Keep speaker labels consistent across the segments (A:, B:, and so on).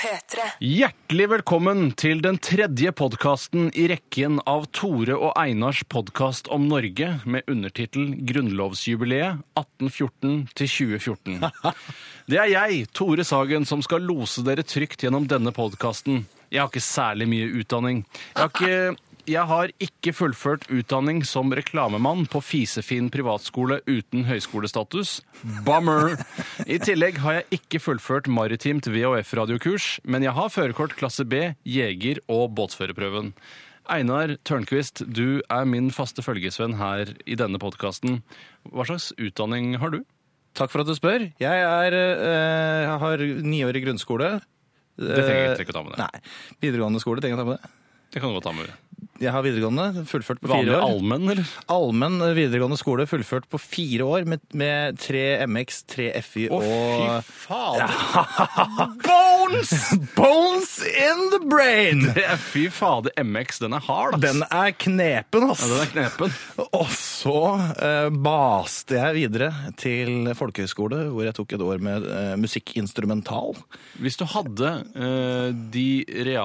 A: P3.
B: Hjertelig velkommen til den tredje podkasten i rekken av Tore og Einars podkast om Norge med undertittel 'Grunnlovsjubileet 1814-2014'. Det er jeg, Tore Sagen, som skal lose dere trygt gjennom denne podkasten. Jeg har ikke særlig mye utdanning. Jeg har ikke, jeg har ikke fullført utdanning som reklamemann på fisefin privatskole uten høyskolestatus. Bummer! I tillegg har jeg ikke fullført maritimt VHF-radiokurs, men jeg har førerkort klasse B, jeger- og båtførerprøven. Einar Tørnquist, du er min faste følgesvenn her i denne podkasten. Hva slags utdanning har du?
C: Takk for at du spør. Jeg, er, eh, jeg har ni år i grunnskole. Eh,
B: Det trenger jeg ikke å ta med deg.
C: Nei. Videregående skole trenger jeg ta med det.
B: Det kan du godt ta med deg.
C: Jeg har videregående, fullført på
B: Vanlig
C: fire år.
B: allmenn, eller?
C: Allmenn videregående skole fullført på fire år med, med tre MX, tre FI
B: Å,
C: og
B: fy fader!
C: Bones! Bones in the brain!
B: Det er fy fader, MX, den er hard, ass.
C: Den er knepen, ass!
B: ja, den er knepen.
C: Og så eh, baste jeg videre til folkehøyskole, hvor jeg tok et år med eh, musikkinstrumental.
B: Hvis du hadde eh, de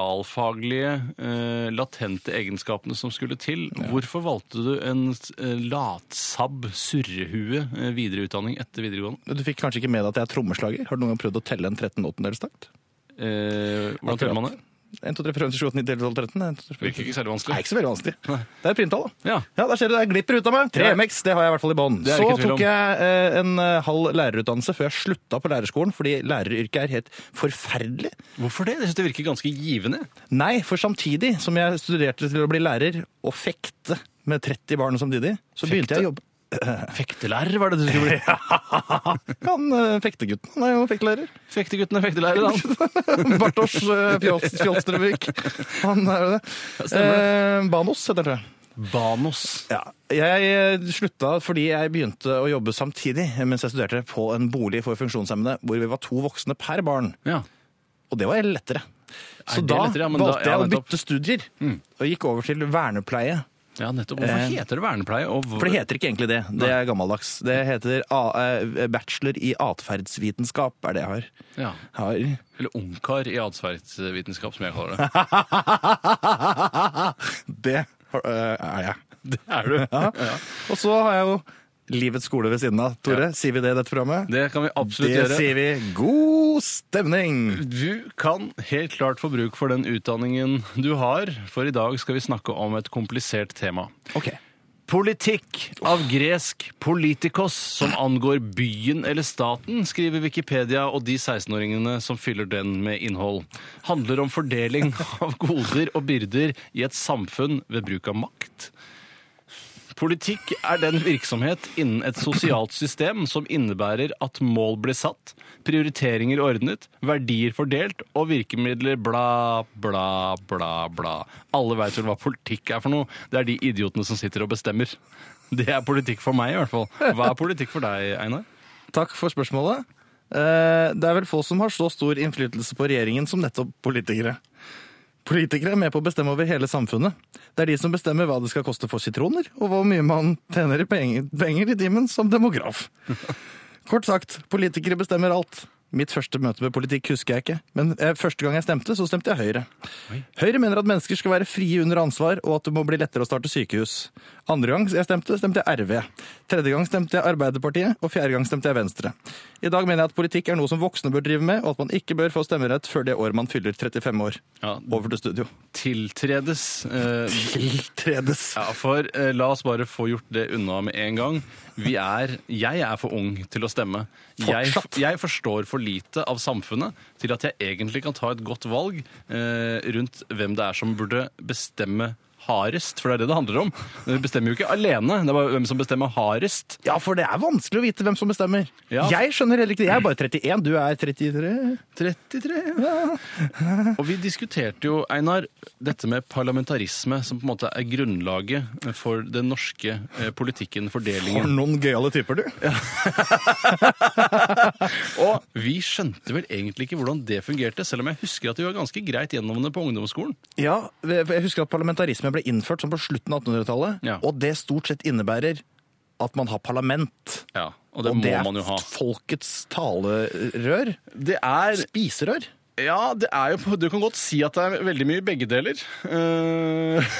B: realfaglige, eh, latente egenskapene som skulle til, hvorfor valgte du en eh, latsabb, surrehue, eh, videre utdanning etter videregående?
C: Du fikk kanskje ikke med deg at jeg er trommeslager? Har du noen gang prøvd å telle en 13 åttendelstakt?
B: Eh, hvordan teller man det?
C: 1, 2, 3, 4, 5, 6, 7, 8, 9, 10, 12, 13? 1, 2, 3, 4,
B: Virker
C: 5, 6, 7, 8, 9, 10, 12, 13.
B: ikke særlig
C: Det
B: vanskelig.
C: er ikke så veldig vanskelig. Det er primtall, da.
B: Ja.
C: der ser du, det glipper ut av meg. 3MX, det har jeg i hvert fall i bånn.
B: Det er
C: Så
B: ikke tvil om.
C: tok jeg eh, en eh, halv lærerutdannelse før jeg slutta på lærerskolen, fordi læreryrket er helt forferdelig.
B: Hvorfor det? Jeg synes det virker ganske givende.
C: Nei, for samtidig som jeg studerte til å bli lærer og fekte med 30 barn samtidig, så begynte jeg å jobbe.
B: Fektelærer var det du skulle bli.
C: Han eh, fektegutten, han er jo fektelærer.
B: Fektegutten er fektelærer, han.
C: Bartosz eh, Fjols- Fjolstrømvik. Han er jo det. Eh, Banos heter det.
B: Banos.
C: Ja. Jeg eh, slutta fordi jeg begynte å jobbe samtidig mens jeg studerte på en bolig for funksjonshemmede, hvor vi var to voksne per barn.
B: Ja.
C: Og det var lettere.
B: det
C: Så da
B: lettere? Ja, men da-
C: valgte
B: ja,
C: jeg å
B: nettopp. Mm.
C: bytte studier, og gikk over til vernepleie.
B: ja, nettopp. Hvorfor heter det vernepleie? Og hvor-
C: For det heter ikke egentlig det. Det er gammeldags. Det heter A- eh, bachelor i atferdsvitenskap, er det jeg har.
B: Ja.
C: har.
B: Eller ungkar i atferdsvitenskap, som jeg kaller det.
C: det har- eh, er jeg.
B: Det er du.
C: Ja. Og så har jeg jo Livets skole ved siden av. Tore, sier vi det i dette programmet?
B: Det kan vi absolutt
C: det
B: gjøre.
C: sier vi. God stemning!
B: Du kan helt klart få bruk for den utdanningen du har, for i dag skal vi snakke om et komplisert tema.
C: Ok.
B: Politikk av gresk politikos, som angår byen eller staten, skriver Wikipedia og de 16-åringene som fyller den med innhold. Handler om fordeling av goder og byrder i et samfunn ved bruk av makt. Politikk er den virksomhet innen et sosialt system som innebærer at mål blir satt, prioriteringer ordnet, verdier fordelt og virkemidler bla, bla, bla, bla. Alle veit vel hva politikk er for noe. Det er de idiotene som sitter og bestemmer. Det er politikk for meg, i hvert fall. Hva er politikk for deg, Einar?
C: Takk for spørsmålet. Eh, Det er vel få som har så stor innflytelse på regjeringen som nettopp politikere. Politikere er med på å bestemme over hele samfunnet. Det er de som bestemmer hva det skal koste for sitroner, og hvor mye man tjener i penger, penger i timen som demograf. Kort sagt, politikere bestemmer alt. Mitt første møte med politikk husker jeg ikke, men eh, første gang jeg stemte, så stemte jeg Høyre. Høyre mener at mennesker skal være frie under ansvar, og at det må bli lettere å starte sykehus. Andre gang jeg stemte, stemte jeg RV. Tredje gang stemte jeg Arbeiderpartiet, og fjerde gang stemte jeg Venstre. I dag mener jeg at politikk er noe som voksne bør drive med, og at man ikke bør få stemmerett før det år man fyller 35 år.
B: Ja,
C: Over til studio.
B: tiltredes. Eh,
C: Tiltredes.
B: Ja, for eh, la oss bare få gjort det unna med en gang. Vi er, jeg er for ung til å stemme. Jeg,
C: Fortsatt.
B: jeg forstår for lite av samfunnet til at jeg egentlig kan ta et godt valg eh, rundt hvem det er som burde bestemme hardest, for det er det det handler om. Vi bestemmer jo ikke alene, det er bare hvem som bestemmer hardest.
C: Ja, for det er vanskelig å vite hvem som bestemmer.
B: Ja.
C: Jeg skjønner heller ikke det. Jeg er bare 31, du er 33.
B: 33, Og vi diskuterte jo, Einar, dette med parlamentarisme, som på en måte er grunnlaget for den norske eh, politikken, fordelingen.
C: noen gøyale typer, du.
B: Og vi skjønte vel egentlig ikke hvordan det fungerte, selv om jeg husker at vi var ganske greit gjennom det på ungdomsskolen.
C: Ja, jeg husker at parlamentarisme ble innført som på slutten av 1800-tallet,
B: Ja.
C: og det stort sett innebærer at man har parlament.
B: Ja, Og det
C: og det
B: må
C: er
B: man jo ha.
C: folkets talerør.
B: Det er
C: Spiserør.
B: Ja, det er jo, på- du kan godt si at det er veldig mye begge deler. Eh,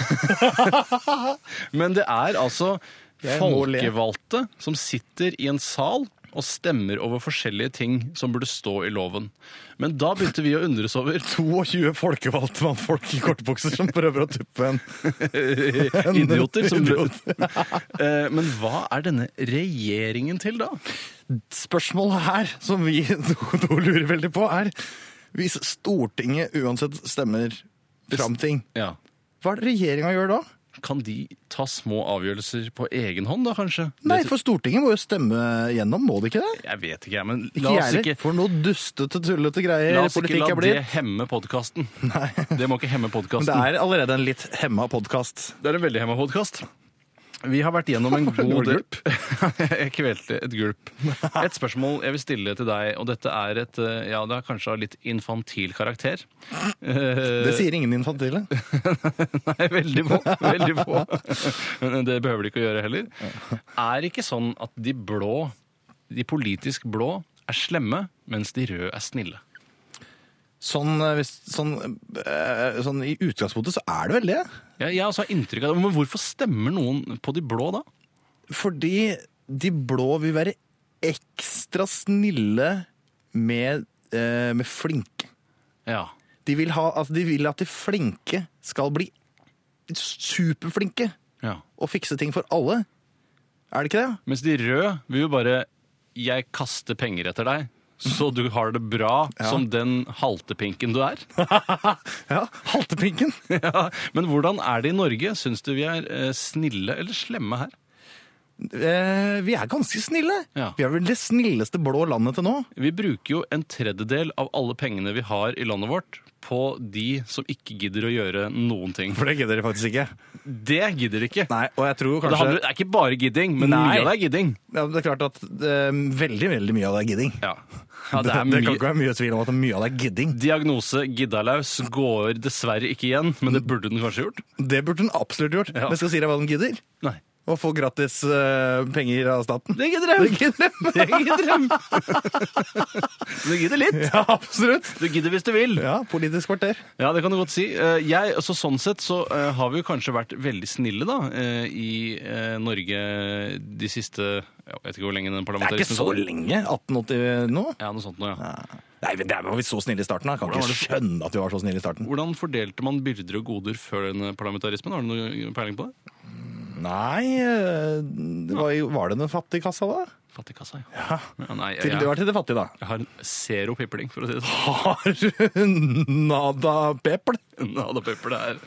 B: Men det er altså
C: Jeg må le.
B: folkevalgte som sitter i en sal og stemmer over forskjellige ting som burde stå i loven. Men da begynte vi å undres over
C: 22 folkevalgte mannfolk i kortbukser som prøver å tuppe en
B: idioter som
C: Idiot.
B: Eh, Men hva er denne regjeringen til, da?
C: Spørsmålet her, som vi to, to lurer veldig på, er hvis Stortinget uansett stemmer fram ting,
B: Ja.
C: hva er det regjeringa gjør da?
B: Kan de ta små avgjørelser på egen hånd, da, kanskje?
C: Nei,
B: Det-
C: for Stortinget må jo stemme gjennom, må det ikke det?
B: Jeg vet ikke, jeg. Men
C: Ikke
B: la
C: jeg
B: oss
C: heller.
B: ikke
C: For noe dustete, tullete
B: La
C: greier
B: oss ikke
C: politikk
B: la
C: er
B: det
C: blitt.
B: hemme podkasten. Det må ikke hemme
C: Men
B: podkasten.
C: det er allerede en litt hemma podkast.
B: Det er en veldig hemma podkast. Vi har vært gjennom en
C: det
B: god
C: var
B: del Jeg kvelte et gulp. Et spørsmål jeg vil stille til deg, og dette er et eh, Ja, det er kanskje av litt infantil karakter.
C: Det sier ingen infantile.
B: Nei, veldig få. Veldig få. Men det behøver de ikke å gjøre heller. Er det ikke sånn at de blå, de politisk blå, er slemme, mens de røde er snille?
C: Sånn, eh, hvis, sånn, eh, sånn i utgangspunktet så er det vel det.
B: Jeg, jeg også har inntrykk av det. Men hvorfor stemmer noen på de blå da?
C: Fordi de blå vil være ekstra snille med, eh, med flinke.
B: Ja.
C: De vil, ha, altså, de vil at de flinke skal bli superflinke
B: ja.
C: og fikse ting for alle. Er det ikke det?
B: Mens de røde vil jo bare Jeg kaster penger etter deg, så du har det bra som den haltepinken du er.
C: Ja, Haltepinken.
B: Ja. Men hvordan er det i Norge? Syns du vi er eh, snille eller slemme her?
C: Eh, vi er ganske snille.
B: Ja.
C: Vi er vel det snilleste blå landet til nå.
B: Vi bruker jo en tredjedel av alle pengene vi har i landet vårt, på de som ikke gidder å gjøre noen ting. For
C: For det gidder de faktisk ikke.
B: det gidder de ikke.
C: Nei, og jeg tror
B: Og det,
C: kanskje
B: handler, det er ikke bare gidding, men
C: Nei.
B: mye av det er gidding.
C: ja, Det er klart at eh, veldig veldig mye av det er gidding.
B: Ja. Ja, det er
C: det, kan
B: mye.
C: ikke være mye tvil om at mye av det er gidding.
B: Diagnose giddalaus går dessverre ikke igjen, men det burde den kanskje gjort.
C: Det burde hun absolutt gjort.
B: Ja.
C: Men skal jeg si deg hva de gidder?
B: Nei.
C: Å få gratis eh, penger av staten.
B: Det gidder jeg.
C: gidder de.
B: Det gidder dem. Du gidder litt.
C: Ja, absolutt.
B: Du gidder hvis du vil.
C: Ja, Politisk kvarter.
B: Ja, det kan du godt si. Eh, Jeg, altså, sånn sett så eh, har vi jo kanskje vært veldig snille da, eh, i eh, Norge de siste Jeg vet ikke hvor lenge den
C: Det er ikke
B: parlamentaristen
C: så
B: satt.
C: lenge. 1880 nå?
B: Ja, noe sånt nå, ja.
C: Nei, men der var vi så snille i starten. da. Kan
B: Hvordan var
C: ikke skjønne at vi var så snille i starten.
B: Hvordan fordelte man byrder og goder før denne parlamentarismen? Har du noe peiling på det?
C: Nei, eh, det var, jo- var det noe fattigkassa da?
B: Fattigkassa, ja. ja. Nei, jeg,
C: Til det var til det fattige, da.
B: jeg har en zero pipling, for å si det sånn.
C: Har du nada pepl?
B: Ja, da pepper det her.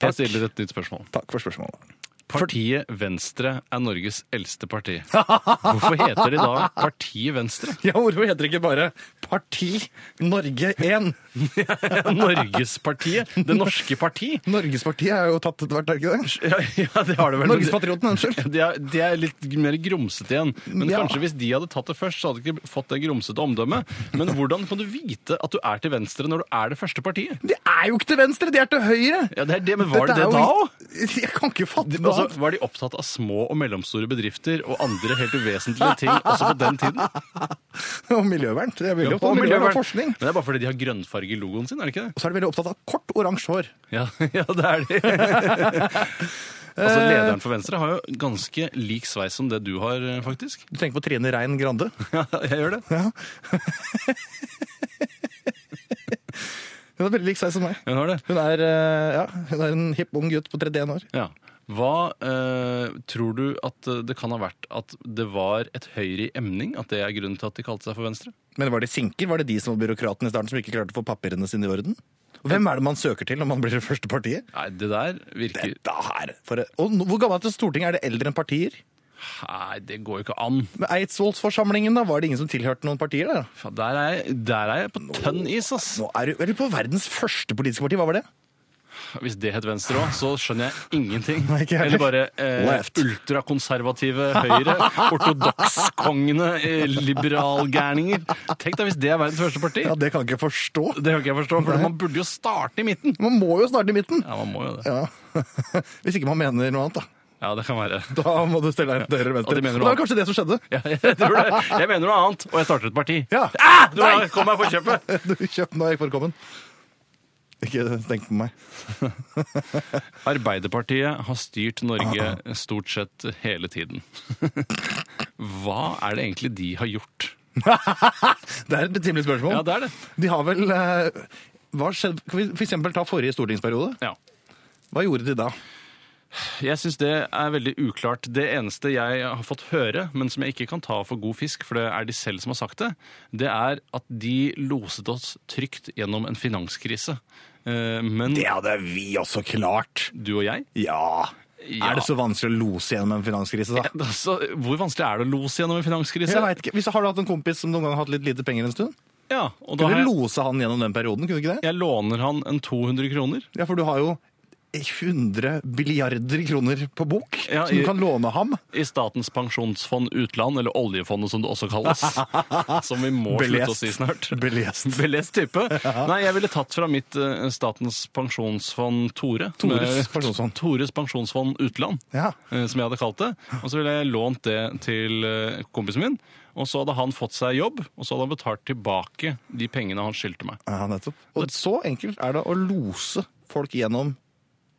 B: Jeg stiller et nytt spørsmål.
C: Takk for spørsmålet.
B: Partiet Venstre er Norges eldste parti. Hvorfor heter de da Partiet Venstre?
C: Ja, hvorfor heter det ikke bare Parti Norge 1?
B: Norgespartiet. Det norske parti.
C: Norgespartiet er jo tatt etter hvert, er det ikke det?
B: Ja, ja, det har det vel. men det-
C: Norgespatrioten, unnskyld.
B: De er, de er litt mer grumsete igjen. Men
C: Ja.
B: kanskje hvis de hadde tatt det først, så hadde de ikke fått det grumsete omdømmet. Men hvordan kan du vite at du er til venstre når du er det første partiet?
C: De er jo ikke til venstre, de er til høyre!
B: Ja, det er det, Men var
C: Dette
B: det
C: er
B: det
C: jo
B: da òg?
C: helt- Jeg kan ikke fatte det.
B: Altså, var de opptatt av små og mellomstore bedrifter og andre helt uvesentlige ting også på den tiden?
C: Og miljøvern. Det er veldig opptatt
B: Og
C: av miljøvern
B: miljøvern.
C: og forskning.
B: Men det er bare fordi de har grønnfarge i logoen sin, er det ikke det?
C: Og så er de veldig opptatt av kort, oransje hår.
B: Ja, ja det er de. altså, lederen for Venstre har jo ganske lik sveis som det du har, eh, faktisk.
C: Du tenker på Trine Rein Grande?
B: Ja, jeg gjør det.
C: Hun er veldig lik seg som meg.
B: Hun har det.
C: Hun er, eh, ja, hun er en hipp ung gutt på 31 år.
B: Ja. Hva eh, tror du at eh, det kan ha vært at det var et høyre i emning? At det er grunnen til at de kalte seg for Venstre?
C: Men var det sinker? Var det de som var byråkratene i starten som ikke klarte å få papirene sine i orden? Og hvem er det man søker til når man blir det første partiet?
B: Nei, det der virker
C: Dette her! For, og nå- hvor gammelt er Stortinget? Er det eldre enn partier?
B: Nei, det går jo ikke an.
C: Med Eidsvollsforsamlingen, da, var det ingen som tilhørte noen partier? da?
B: Faen, Der er jeg, der er jeg på tønn is, ass.
C: Nå er du, er du på verdens første politiske parti, hva var det?
B: Hvis det het Venstre òg, så skjønner jeg ingenting.
C: Nei, ikke jeg
B: Eller bare eh,
C: Left.
B: ultrakonservative Høyre, ortodokskongene, eh, liberalgærninger. Tenk deg hvis det er verdens første parti!
C: Ja, det kan jeg ikke forstå.
B: Det kan ikke jeg forstå, for man burde jo starte i midten.
C: Man må jo starte i midten.
B: Ja, man må jo det.
C: Ja. Hvis ikke man mener noe annet, da.
B: Ja, det kan være.
C: Da må du stelle deg til høyre
B: Og
C: eller venstre.
B: det mener
C: Og
B: du
C: det var
B: alt.
C: kanskje det som skjedde.
B: Ja, jeg tror det. Jeg mener noe annet, og jeg starter et parti.
C: Ja.
B: Ah, du har- kom meg for kjøpet!
C: Du kjøpte nå jeg forkommen. Ikke tenk på meg.
B: Arbeiderpartiet har styrt
C: Ah.
B: Norge stort sett hele tiden. Hva er det egentlig de har gjort?
C: Det er et betimelig spørsmål.
B: Ja, det er det.
C: De har vel eh, hva skjedde, Kan vi for eksempel ta forrige stortingsperiode?
B: Ja.
C: Hva gjorde de da?
B: Jeg syns det er veldig uklart. Det eneste jeg har fått høre, men som jeg ikke kan ta for god fisk, for det er de selv som har sagt det, det er at de loset oss trygt gjennom en finanskrise. Eh, Men
C: hadde vi også klart.
B: du og jeg
C: Ja.
B: Ja.
C: Er det så vanskelig å lose gjennom en finanskrise, da?
B: altså, Hvor vanskelig er det å lose gjennom en finanskrise?
C: Jeg vet ikke. Hvis Har du hatt en kompis som noen gang har hatt litt lite penger en stund?
B: Ja, og da
C: Kunne
B: har jeg,
C: du lose han gjennom den perioden? kunne du ikke det?
B: jeg låner han en 200 kroner.
C: Ja, for du har jo 100 billiarder kroner på bok
B: Ja,
C: som
B: i-
C: du kan låne ham.
B: I Statens pensjonsfond utland, eller oljefondet som det også kalles. som vi må slutte å si snart.
C: Belest.
B: Belest type. Nei, jeg ville tatt fra mitt eh, Statens pensjonsfond Tore.
C: Tores pensjonsfond.
B: Tores pensjonsfond utland,
C: Ja.
B: eh, som jeg hadde kalt det. Og så ville jeg lånt det til eh, kompisen min. Og så hadde han fått seg jobb, og så hadde han betalt tilbake de pengene han skyldte meg.
C: ja, nettopp. Og så enkelt er det å lose folk gjennom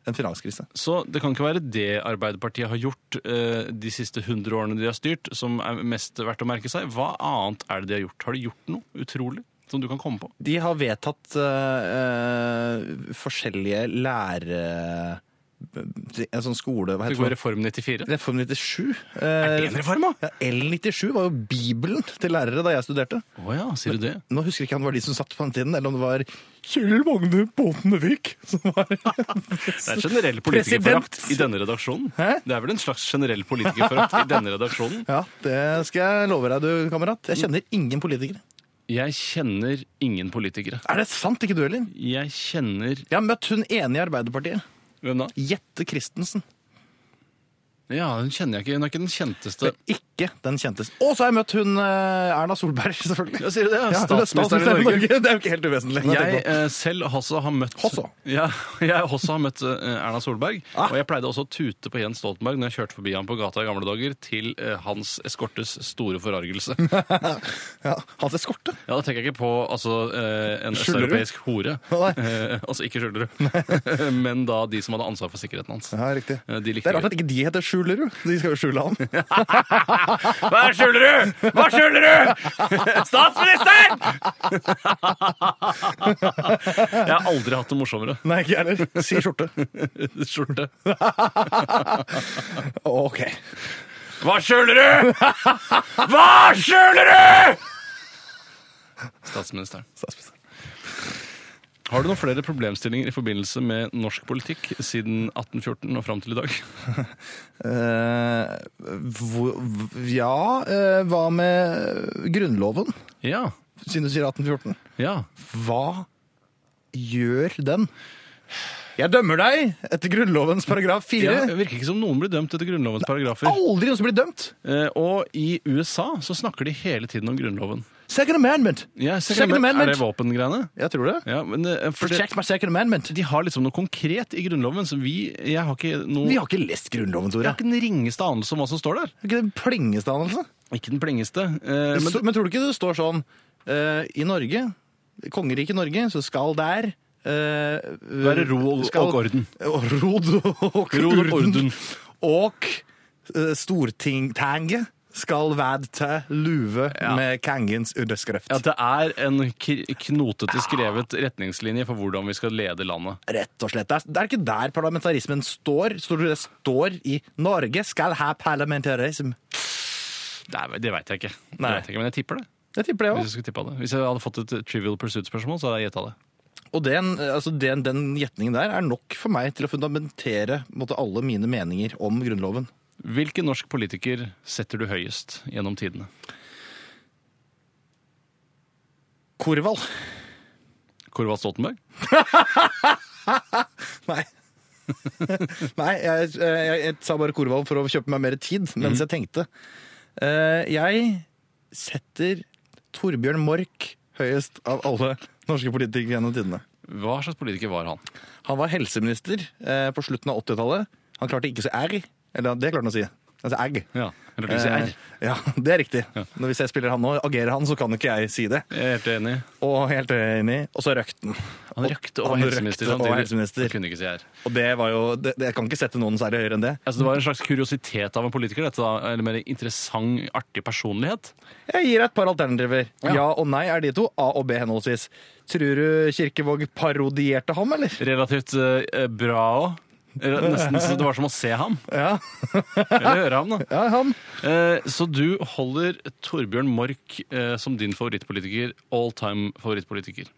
C: en finanskrise.
B: Så det kan ikke være det Arbeiderpartiet har gjort eh, de siste 100 årene de har styrt, som er mest verdt å merke seg. Hva annet er det de har gjort? Har de gjort noe utrolig som du kan komme på?
C: De har vedtatt eh, eh, forskjellige lære... En sånn skole... Hva
B: Det
C: heter
B: går
C: det?
B: Reform 94.
C: Reform 97.
B: Er
C: Eh,
B: det en reform, da?
C: ja, L97 var jo bibelen til lærere da jeg studerte.
B: Å ja, sier du det?
C: Nå husker jeg ikke om det var de som satt på den tiden, eller om det var Kjell Magne Bondevik som var
B: Det er generell politikerforakt
C: President.
B: i denne redaksjonen.
C: Hæ?
B: Det er vel en slags generell politikerforakt i denne redaksjonen.
C: Ja, det skal jeg love deg, du kamerat. Jeg kjenner ingen politikere.
B: Jeg kjenner ingen politikere.
C: Er det sant? Ikke du heller?
B: Jeg kjenner
C: Jeg har møtt hun ene i Arbeiderpartiet.
B: Hvem da?
C: Jette Christensen.
B: Ja, hun kjenner jeg ikke. Hun er ikke den kjenteste.
C: Ikke den kjentes. Og så har jeg møtt hun eh, Erna Solberg, selvfølgelig.
B: Ja, sier du det?
C: Ja, hun er
B: Statsministeren i Norge.
C: Det er jo ikke helt uvesentlig. men
B: Jeg
C: tenk på.
B: eh, selv også har møtt
C: Hosso.
B: Ja, jeg også har møtt eh, Erna Solberg.
C: Ah.
B: Og jeg pleide også å tute på Jens Stoltenberg når jeg kjørte forbi ham på gata i gamle dager, til eh, hans eskortes store forargelse. Ja,
C: ja, hans eskorte.
B: Da tenker jeg ikke på altså, eh, en
C: Skjulerud?
B: østeuropeisk hore.
C: Nei.
B: Eh, altså ikke Skjulerud, men da de som hadde ansvar for sikkerheten hans.
C: Ja, riktig.
B: Eh, De
C: Det
B: likte
C: er rart at ikke de heter Skjulerud. De skal jo skjule han.
B: Hva er Skjulerud?! Hva er Skjulerud?! Statsministeren! jeg har aldri hatt det morsommere.
C: Nei, ikke jeg heller. Si skjorte.
B: Skjorte.
C: OK.
B: Hva skjuler du?! Hva skjuler du?! Statsministeren.
C: Statsminister.
B: Har du noen flere problemstillinger i forbindelse med norsk politikk siden 1814 og fram til i dag?
C: Eh, hvor, ja, eh, hva med Grunnloven,
B: Ja.
C: siden du sier 1814?
B: Ja.
C: Hva gjør den? Jeg dømmer deg etter Grunnlovens paragraf
B: ja
C: 4.
B: det virker ikke som noen blir dømt etter Grunnlovens paragrafer.
C: Aldri noen som blir dømt!
B: Eh, og i USA så snakker de hele tiden om Grunnloven.
C: Second Amendment!
B: Ja,
C: Second Amendment.
B: Er det våpengreiene?
C: Jeg tror det.
B: Ja, men eh, for det,
C: Protect my second amendment.
B: de har liksom noe konkret i Grunnloven som vi Jeg har ikke noe
C: Vi har ikke lest Grunnloven,
B: jeg
C: Tore.
B: har ikke den ringeste anelse om hva som står der.
C: Det er ikke den plengeste anelse.
B: Ikke den plengeste. eh,
C: Men,
B: men
C: men tror du ikke det står sånn eh, I Norge, kongeriket Norge, så skal der eh,
B: Være ro og- og orden.
C: Og Rod og
B: Rod og
C: orden.
B: orden.
C: Og eh, stortingtanget skal væd til luve
B: Ja.
C: med kangens underskrift.
B: Ja, det er en k- knotete skrevet retningslinje for hvordan vi skal lede landet.
C: Rett og slett. Det er, det er ikke der parlamentarismen står. Står det står i Norge skal ha parlamentarism.
B: Det, er- det veit jeg ikke. Det
C: Nei.
B: vet jeg ikke. Men jeg tipper det.
C: Jeg tipper det
B: Hvis
C: òg.
B: jeg, skulle tippa det. Hvis jeg hadde fått et Trivial Pursuit-spørsmål, så hadde jeg gjetta det.
C: Og den, altså den, den gjetningen der er nok for meg til å fundamentere på en måte, alle mine meninger om Grunnloven.
B: Hvilken norsk politiker setter du høyest gjennom tidene?
C: Korvald.
B: Korvald Stoltenberg?
C: Nei. Nei, jeg, jeg, jeg sa bare Korvald for å kjøpe meg mer tid mens jeg tenkte. Eh, jeg setter Torbjørn Mork høyest av alle norske politikere gjennom tidene.
B: Hva slags politiker var han?
C: Han var helseminister eh, på slutten av 80-tallet. Han klarte ikke så R. Eller det klarte han å si. Altså egg.
B: Ja, eller du sier R.
C: Eh, Ja, det er riktig. Når Hvis jeg spiller han og agerer han, så kan ikke jeg si det.
B: Eh, Jeg er helt enig.
C: Og helt enig. Og så røkten.
B: Han røkte og var
C: Han røkte
B: helseminister
C: og var
B: samtidig.
C: helseminister.
B: Han kunne ikke si R.
C: Og det var jo det, det, Jeg kan ikke sette noen særlig høyere enn det.
B: Altså, det var en slags kuriositet av en politiker, dette da, eller mer interessant, artig personlighet.
C: Jeg gir deg et par alternativer.
B: Ja.
C: Ja. og nei er de to. A og B henholdsvis. Tror du Kirkevåg parodierte ham, eller?
B: Relativt eh, bra òg. Nesten så det var som å se ham.
C: Ja,
B: Eller høre ham, da.
C: ja han.
B: Eh, Så du holder Torbjørn Mork eh, som din favorittpolitiker, all time favorittpolitiker.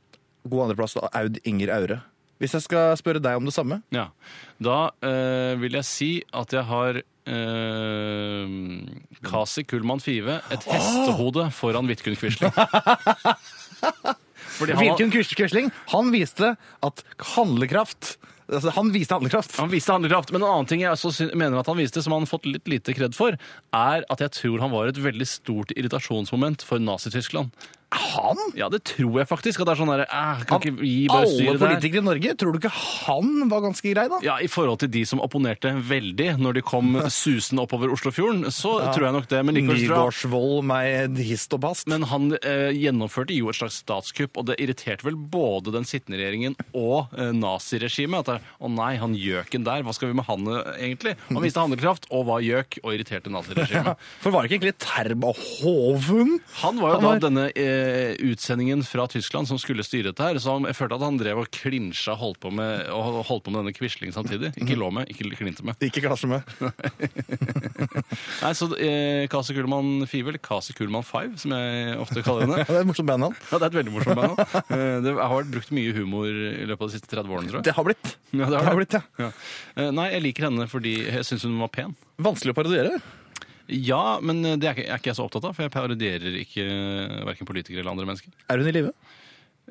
C: God andreplass da, Aud Inger Aure. Hvis jeg skal spørre deg om det samme
B: Ja. Da eh, vil jeg si at jeg har eh, Kasi Kullmann Five, et hestehode foran Vidkun Quisling. Fordi han,
C: Vidkun Kus- Quisling han viste at handlekraft altså Han viste handlekraft.
B: han viste handlekraft. Men en annen ting jeg også syn- mener at han viste, som han har fått litt lite kred for, er at jeg tror han var et veldig stort irritasjonsmoment for Nazi-Tyskland.
C: Han?
B: Ja, det tror jeg faktisk. At det er sånn derre "Æh, Kan ikke vi bare
C: Alle
B: styre det her?
C: politikere i Norge, tror du ikke han var ganske grei, da?
B: Ja, I forhold til de som opponerte veldig når de kom susende oppover Oslofjorden, så tror jeg nok det. Men likevel tror jeg
C: Nygårdsvold med hist og past.
B: Men han eh, gjennomførte jo et slags statskupp, og det irriterte vel både den sittende regjeringen og eh, naziregimet. At det er, å nei, han gjøken der, hva skal vi med han eh, egentlig? Han viste handlekraft og var gjøk og irriterte naziregimet.
C: For var det ikke egentlig Terba Hovum?
B: Han var jo
C: Han var-
B: da denne eh, utsendingen fra Tyskland som skulle styre dette her, så han, jeg følte at han drev og klinsja og holdt på med, og holdt på med denne Quisling samtidig. Ikke lå med, ikke klinte med.
C: Ikke klasje med.
B: Nei, så eh, Kasi Kullmann Five, eller Kasi Kullmann Five, som jeg ofte kaller henne.
C: Ja, det er et morsomt bandnavn.
B: Ja, det er et veldig morsomt band. da. Eh, Det har vært brukt mye humor i løpet av de siste 30 årene, tror jeg.
C: Det har blitt.
B: Ja, det har det.
C: blitt, ja.
B: Ja. Eh, Nei, jeg liker henne fordi jeg syns hun var pen.
C: Vanskelig å parodiere.
B: Ja, men eh, det er ikke, er ikke jeg så opptatt av, for jeg parodierer ikke verken politikere eller andre mennesker.
C: Er hun i live?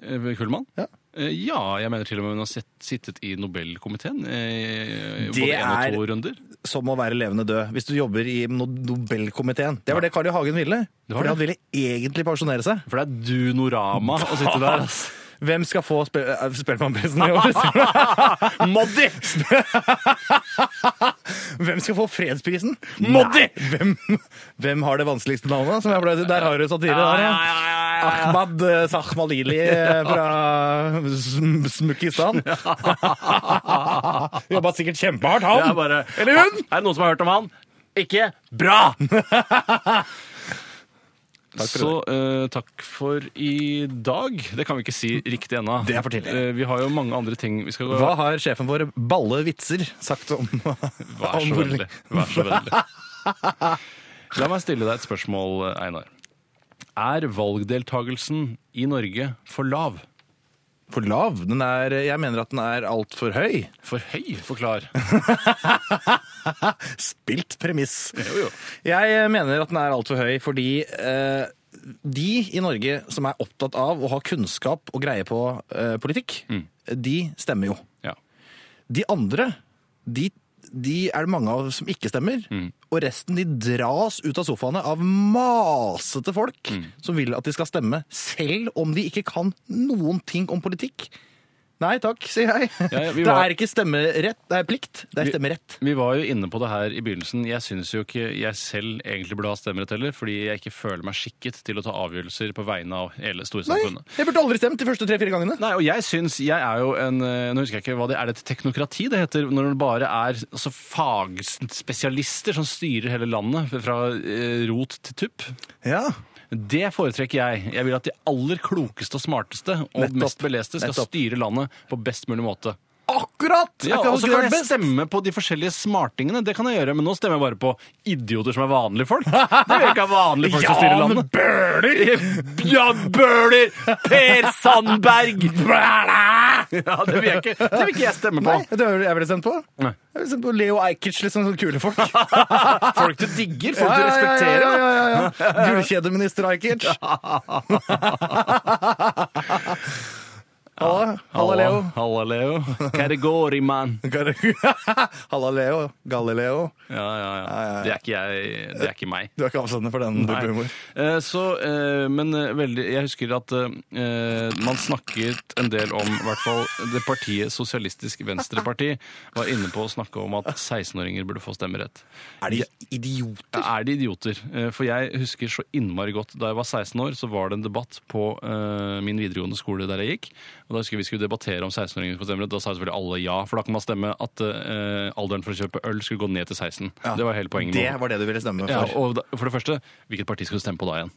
B: Eh, Kullmann?
C: Ja.
B: Eh, Ja, jeg mener til og med hun har sett, sittet i Nobelkomiteen eh, i både
C: Det
B: én og
C: er-
B: to runder.
C: Som å være levende død hvis du jobber i no- Nobelkomiteen. Det var det Carl I. Hagen ville.
B: Det var
C: Fordi
B: det.
C: han ville egentlig pensjonere seg.
B: For det er Dunorama å sitte der. altså. ass.
C: Hvem skal få spe eh, Spellemannprisen i år?
B: Moddi!
C: Hvem skal få fredsprisen?
B: Moddi!
C: Nei, Hvem, hvem har det vanskeligste navnet? Som jeg ble, der har du satire.
B: Ja,
C: Der,
B: ja,
C: ja.
B: ja, ja, ja.
C: Ahmad eh, Sahmalili eh, fra Sm- Smukkistan. Jobba sikkert kjempehardt,
B: Det
C: han.
B: er bare
C: Eller hun!
B: Er det noen som har hørt om han? Ikke bra! Så eh, takk for i dag. Det kan vi ikke si riktig ennå.
C: Det er for tidlig.
B: Eh, vi har jo mange andre ting vi skal gå
C: Hva har sjefen vår, Balle Vitser, sagt om
B: Vær
C: om
B: så
C: hvor-
B: vennlig. Vær så vennlig. La meg stille deg et spørsmål, Einar. Er valgdeltagelsen i Norge for lav?
C: For lav. Den er, eh, jeg mener at den er altfor høy.
B: For høy? Forklar.
C: Spilt premiss.
B: Jo, jo.
C: Jeg eh, mener at den er altfor høy fordi eh, de i Norge som er opptatt av å ha kunnskap og greie på eh, politikk,
B: Mm.
C: de stemmer jo.
B: Ja.
C: De andre, de, de er det mange av som ikke stemmer.
B: Mm.
C: Og resten de dras ut av sofaene av masete folk
B: Mm.
C: som vil at de skal stemme, selv om de ikke kan noen ting om politikk. Nei takk, sier jeg.
B: Ja, ja, vi
C: det
B: var-
C: er ikke stemmerett, det er plikt. Det er stemmerett.
B: Vi var jo inne på det her i begynnelsen. Jeg syns jo ikke jeg selv egentlig burde ha stemmerett heller, fordi jeg ikke føler meg skikket til å ta avgjørelser på vegne av hele
C: Nei,
B: storsamfunnet.
C: jeg burde aldri stemt de første tre-fire gangene.
B: Nei, og jeg syns jeg er jo en eh, Nå husker jeg ikke hva det er det et teknokrati det heter, når det bare er altså, fagspesialister som styrer hele landet fra eh, rot til tupp.
C: Ja,
B: Det foretrekker jeg. Jeg vil at de aller klokeste og smarteste og
C: Nettopp.
B: mest beleste skal
C: Nettopp.
B: styre landet på best mulig måte.
C: akkurat!
B: Ja,
C: Akkurat
B: og så kan
C: det
B: jeg
C: best.
B: stemme på de forskjellige smartingene. Det kan jeg gjøre, men nå stemmer jeg bare på idioter som er vanlige folk. Det vil jeg ikke ha vanlige folk som styrer
C: Jan
B: landet.
C: Bøhler!
B: Jan Bøhler! Per Sandberg! Ja, det vil jeg ikke, det vil ikke jeg stemme på.
C: Nei, vet du hva jeg ville stemt på?
B: Nei.
C: Jeg ville stemt på Leo Eikerts, liksom sånne kule folk.
B: Folk du digger, folk du respekterer.
C: Ja, ja, ja, ja, ja. Gullkjedeminister Ajkic. Halla, halla Leo.
B: Halla, Leo. Hva det går i, mann?
C: Halla Leo. Galileo.
B: Ja, ja, ja. Det er ikke jeg. Det er ikke meg.
C: Du er ikke avsender for den type humor.
B: Eh, Så, eh, men eh, veldig, jeg husker at eh, man snakket en del om, i hvert fall det partiet Sosialistisk Venstreparti, var inne på å snakke om at 16-åringer burde få stemmerett.
C: Er de idioter?
B: Er de idioter? Eh, For jeg husker så innmari godt da jeg var 16 år, så var det en debatt på eh, min videregående skole der jeg gikk. Og da husker jeg vi skulle debattere om 16-åringer skulle få stemmerett. Da sa selvfølgelig alle ja, for da kan man stemme at eh, alderen for å kjøpe øl skulle gå ned til 16. Det var hele poenget.
C: Det
B: med å-
C: var det du ville stemme
B: ja,
C: for.
B: og da, for det første, hvilket parti skal du stemme på da igjen?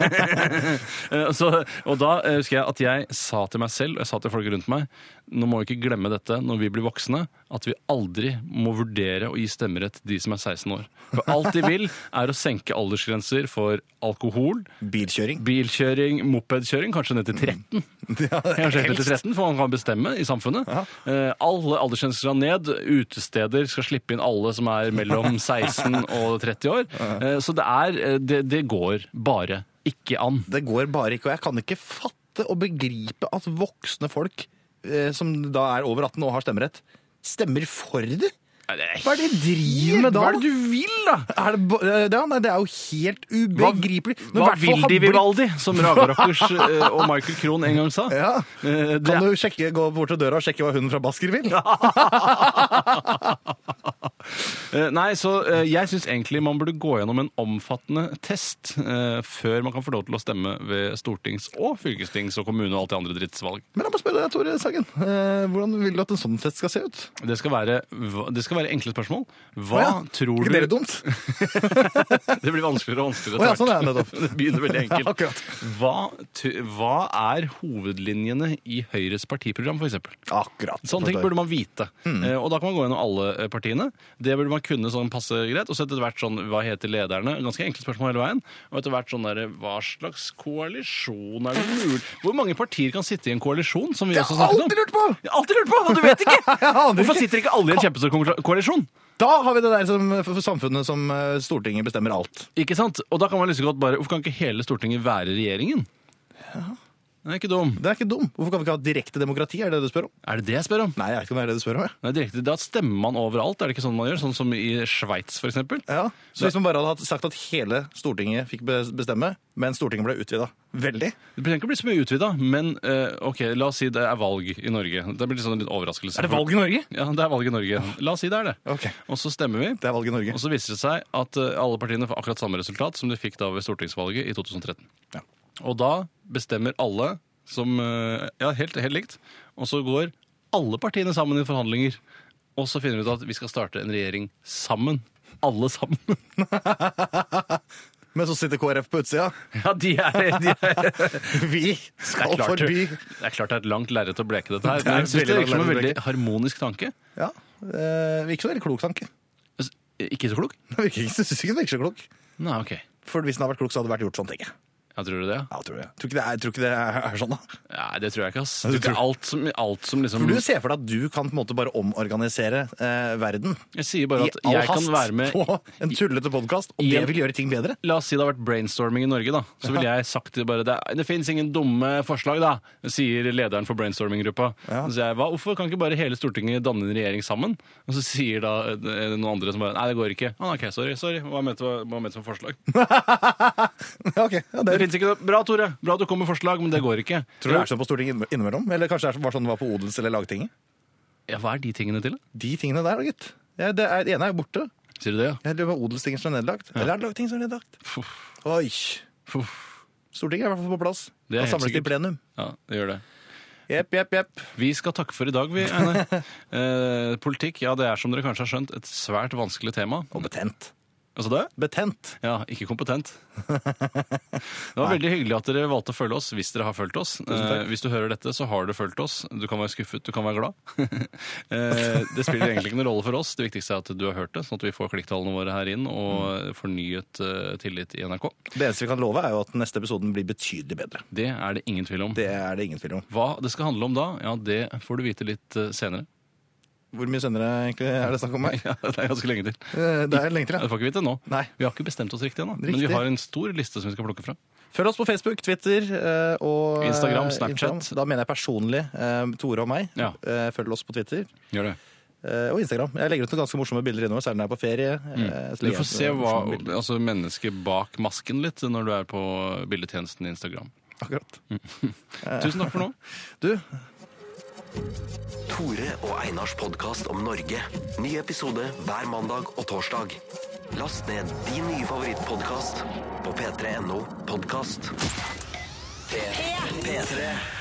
B: Eh, Så, og da eh, husker jeg at jeg sa til meg selv og jeg sa til folk rundt meg nå må vi ikke glemme dette når vi blir voksne, at vi aldri må vurdere å gi stemmerett til de som er 16 år. For alt de vil, er å senke aldersgrenser for alkohol,
C: Bilkjøring.
B: bilkjøring, mopedkjøring, kanskje ned til 13.
C: Mm. Ja,
B: Kanskje helt til
C: helst.
B: 13, for man kan bestemme i samfunnet. Eh, alle aldersgrenser skal ned. Utesteder skal slippe inn alle som er mellom 16 og 30 år. Eh, så det er eh, det, det går bare ikke an.
C: Det går bare ikke, og jeg kan ikke fatte og begripe at voksne folk eh, som da er over 18 og har stemmerett, stemmer for det. Hva er det de driver med da?
B: Hva er det du vil, da?
C: Er det, ba- eh, ja, nei, det er jo helt ubegripelig. Når
B: Hva
C: hvert fall
B: vil
C: har
B: de,
C: blitt-
B: Vivaldi? Som Raga Rockers eh, og Michael Krohn en gang sa.
C: Ja.
B: Eh, det
C: Kan
B: er-
C: du sjekke, gå bort til døra og sjekke hva hunden fra Basker vil?
B: Eh, Nei, så eh, jeg syns egentlig man burde gå gjennom en omfattende test eh, før man kan få lov til å stemme ved stortings- og fylkestings- og kommune- og alt det andre drittsvalg.
C: Men jeg må spørre deg, Tore Sagen. Eh, hvordan vil du at en sånn fest skal se ut?
B: Det skal være, hva- det skal være enkle spørsmål. Hva
C: Å ja,
B: tror
C: Ikke
B: du
C: det dumt?
B: Det blir vanskeligere og vanskeligere.
C: Å ja,
B: etter
C: sånn er det
B: hvert.
C: nettopp.
B: det begynner veldig enkelt.
C: Akkurat.
B: Hva, t hva er hovedlinjene i Høyres partiprogram, f.eks.?
C: Akkurat.
B: Sånne ting burde man vite. Eh, og da kan man gå gjennom alle eh, partiene. Det burde man kunne sånn passe greit. Og så etter hvert sånn hva heter lederne? Ganske enkle spørsmål hele veien. Og etter hvert sånn derre hva slags koalisjon er det mulig Hvor mange partier kan sitte i en koalisjon, som vi
C: Jeg
B: også
C: har
B: snakket om?
C: alltid lurt på!
B: Jeg har alltid lurt på! Og du vet ikke!
C: Jeg aner
B: Hvorfor
C: ikke.
B: sitter ikke alle i en kjempestor ko- koalisjon?
C: Da har vi det der som, for for samfunnet som eh, Stortinget bestemmer alt.
B: Ikke sant? Og da kan man liksom godt bare Hvorfor kan ikke hele Stortinget være regjeringen? Det er ikke dum.
C: Det er ikke dum. Hvorfor kan vi ikke ha direkte demokrati? Er det det du spør om?
B: Er det det jeg spør om?
C: Nei, jeg vet ikke om det er det du spør om. Jeg.
B: Nei, direkte, Da stemmer man overalt, er det ikke sånn man gjør? Sånn som i Sveits, f.eks.
C: Ja. Så hvis man bare hadde hatt- sagt at hele Stortinget fikk bes- bestemme, men Stortinget ble utvida veldig
B: Det trenger ikke å bli så mye utvida, men eh, ok, la oss si det er valg i Norge. Det blir litt sånn en litt overraskelse.
C: i Norge?
B: Ja, det er valg i Norge. La oss si det er det.
C: Ok.
B: Og så stemmer vi.
C: Det er valg i Norge.
B: Og så viser det seg at eh, alle partiene får akkurat samme resultat som de fikk da ved stortingsvalget i 2013.
C: Ja.
B: Og da bestemmer alle som eh, Ja, helt, helt likt. Og så går alle partiene sammen i forhandlinger. Og så finner vi ut at vi skal starte en regjering sammen. Alle sammen.
C: Men så sitter KrF på utsida.
B: Ja, de er, de er
C: Vi skal
B: klart,
C: forby
B: Det er klart det er et langt lerret å bleke dette her.
C: Det er
B: Men jeg synes det
C: veldig
B: virker som en
C: langt
B: veldig
C: lerret
B: harmonisk tanke.
C: Ja. Eh, virker som en veldig klok tanke.
B: Altså, Ikke så klok?
C: Det virker ikke, jeg synes ikke den virker så klok.
B: Nei, ok.
C: For hvis den hadde vært klok, så hadde det vært gjort sånn, tenker jeg.
B: Ja, tror du det? ja?
C: Ja, tror jeg. Tror ikke det er, tror ikke det er, er sånn, da.
B: Nei, det tror jeg ikke, ass.
C: du
B: Jeg tror ikke
C: tror-
B: alt som, alt som liksom
C: For du ser for deg at du kan på en måte bare omorganisere eh, verden
B: Jeg sier bare
C: i
B: at
C: all
B: jeg kan
C: hast
B: være med
C: på en tullete podkast, og det
B: Jeg-
C: vil gjøre ting bedre.
B: La oss si det har vært brainstorming i Norge, da. Så ville jeg sagt det bare Det, det fins ingen dumme forslag, da, sier lederen for brainstorming-gruppa. Så sier jeg hva, hvorfor kan ikke bare hele Stortinget danne en regjering sammen? Og så sier da eh, noen andre som bare Nei, det går ikke. Ah, OK, sorry. sorry. Hva mente hva mente som forslag?
C: Ja, ok. Ja,
B: Det
C: det
B: finnes ikke noe Bra, Tore. Bra du kom med forslag, men det går ikke.
C: Tror du det er sånn på Stortinget innime- innimellom? Eller kanskje det er- var sånn det var på odels- eller lagtinget?
B: Ja, hva er de tingene til? da?
C: De tingene der, gitt. Ja, det, er, det ene er jo borte.
B: Sier du det, ja?
C: Jeg lurer på om odelstinget som er nedlagt. Eller er det lagtinget som er nedlagt? Oi. Stortinget er i hvert fall på plass.
B: Det er
C: Kan
B: helt
C: samles i
B: sikkert.
C: plenum.
B: Ja, det gjør det.
C: Jepp, jepp, jepp.
B: Vi skal takke for i dag, vi, Einar. Eh, politikk, ja, det er som dere kanskje har skjønt, et svært vanskelig tema.
C: Og betent.
B: Altså det?
C: Betent.
B: Ja, ikke kompetent. Det var veldig hyggelig at dere valgte å følge oss, hvis dere har fulgt oss. Eh, hvis du hører dette, så har du fulgt oss. Du kan være skuffet, du kan være glad. eh, det spiller egentlig ikke noen rolle for oss. Det viktigste er at du har hørt det, sånn at vi får klikktallene våre her inn og fornyet eh, tillit i NRK.
C: Det eneste vi kan love, er jo at neste episoden blir betydelig bedre.
B: Det er det ingen tvil om.
C: Det er det ingen tvil om.
B: Hva det skal handle om da, ja, det får du vite litt eh, senere.
C: Hvor mye senere egentlig er det snakk om meg?
B: Ja, det er ganske lenge til.
C: Eh, Det er lenge til,
B: Ja,
C: ja.
B: Det får ikke vite nå.
C: Nei.
B: Vi har ikke bestemt oss riktig ennå. Men
C: Riktig.
B: vi har en stor liste som vi skal plukke fra.
C: Følg oss på Facebook, Twitter eh, og eh,
B: Instagram, Snapchat.
C: Da mener jeg personlig eh, Tore og meg.
B: Ja.
C: Eh, Følg oss på Twitter
B: Gjør det.
C: eh, og Instagram. Jeg legger ut noen ganske morsomme bilder innover, særlig når jeg er på ferie. Eh, så
B: Du
C: legger
B: Mm. får se
C: jeg ut noen
B: hva,
C: morsomme bilder.
B: altså mennesket bak masken litt når du er på bildetjenesten i Instagram.
C: Akkurat.
B: Mm. Tusen takk for nå.
C: Du,
A: Tore og Einars podkast om Norge. Ny episode hver mandag og torsdag. Last ned din nye favorittpodkast på p3.no podkast. P3. P3.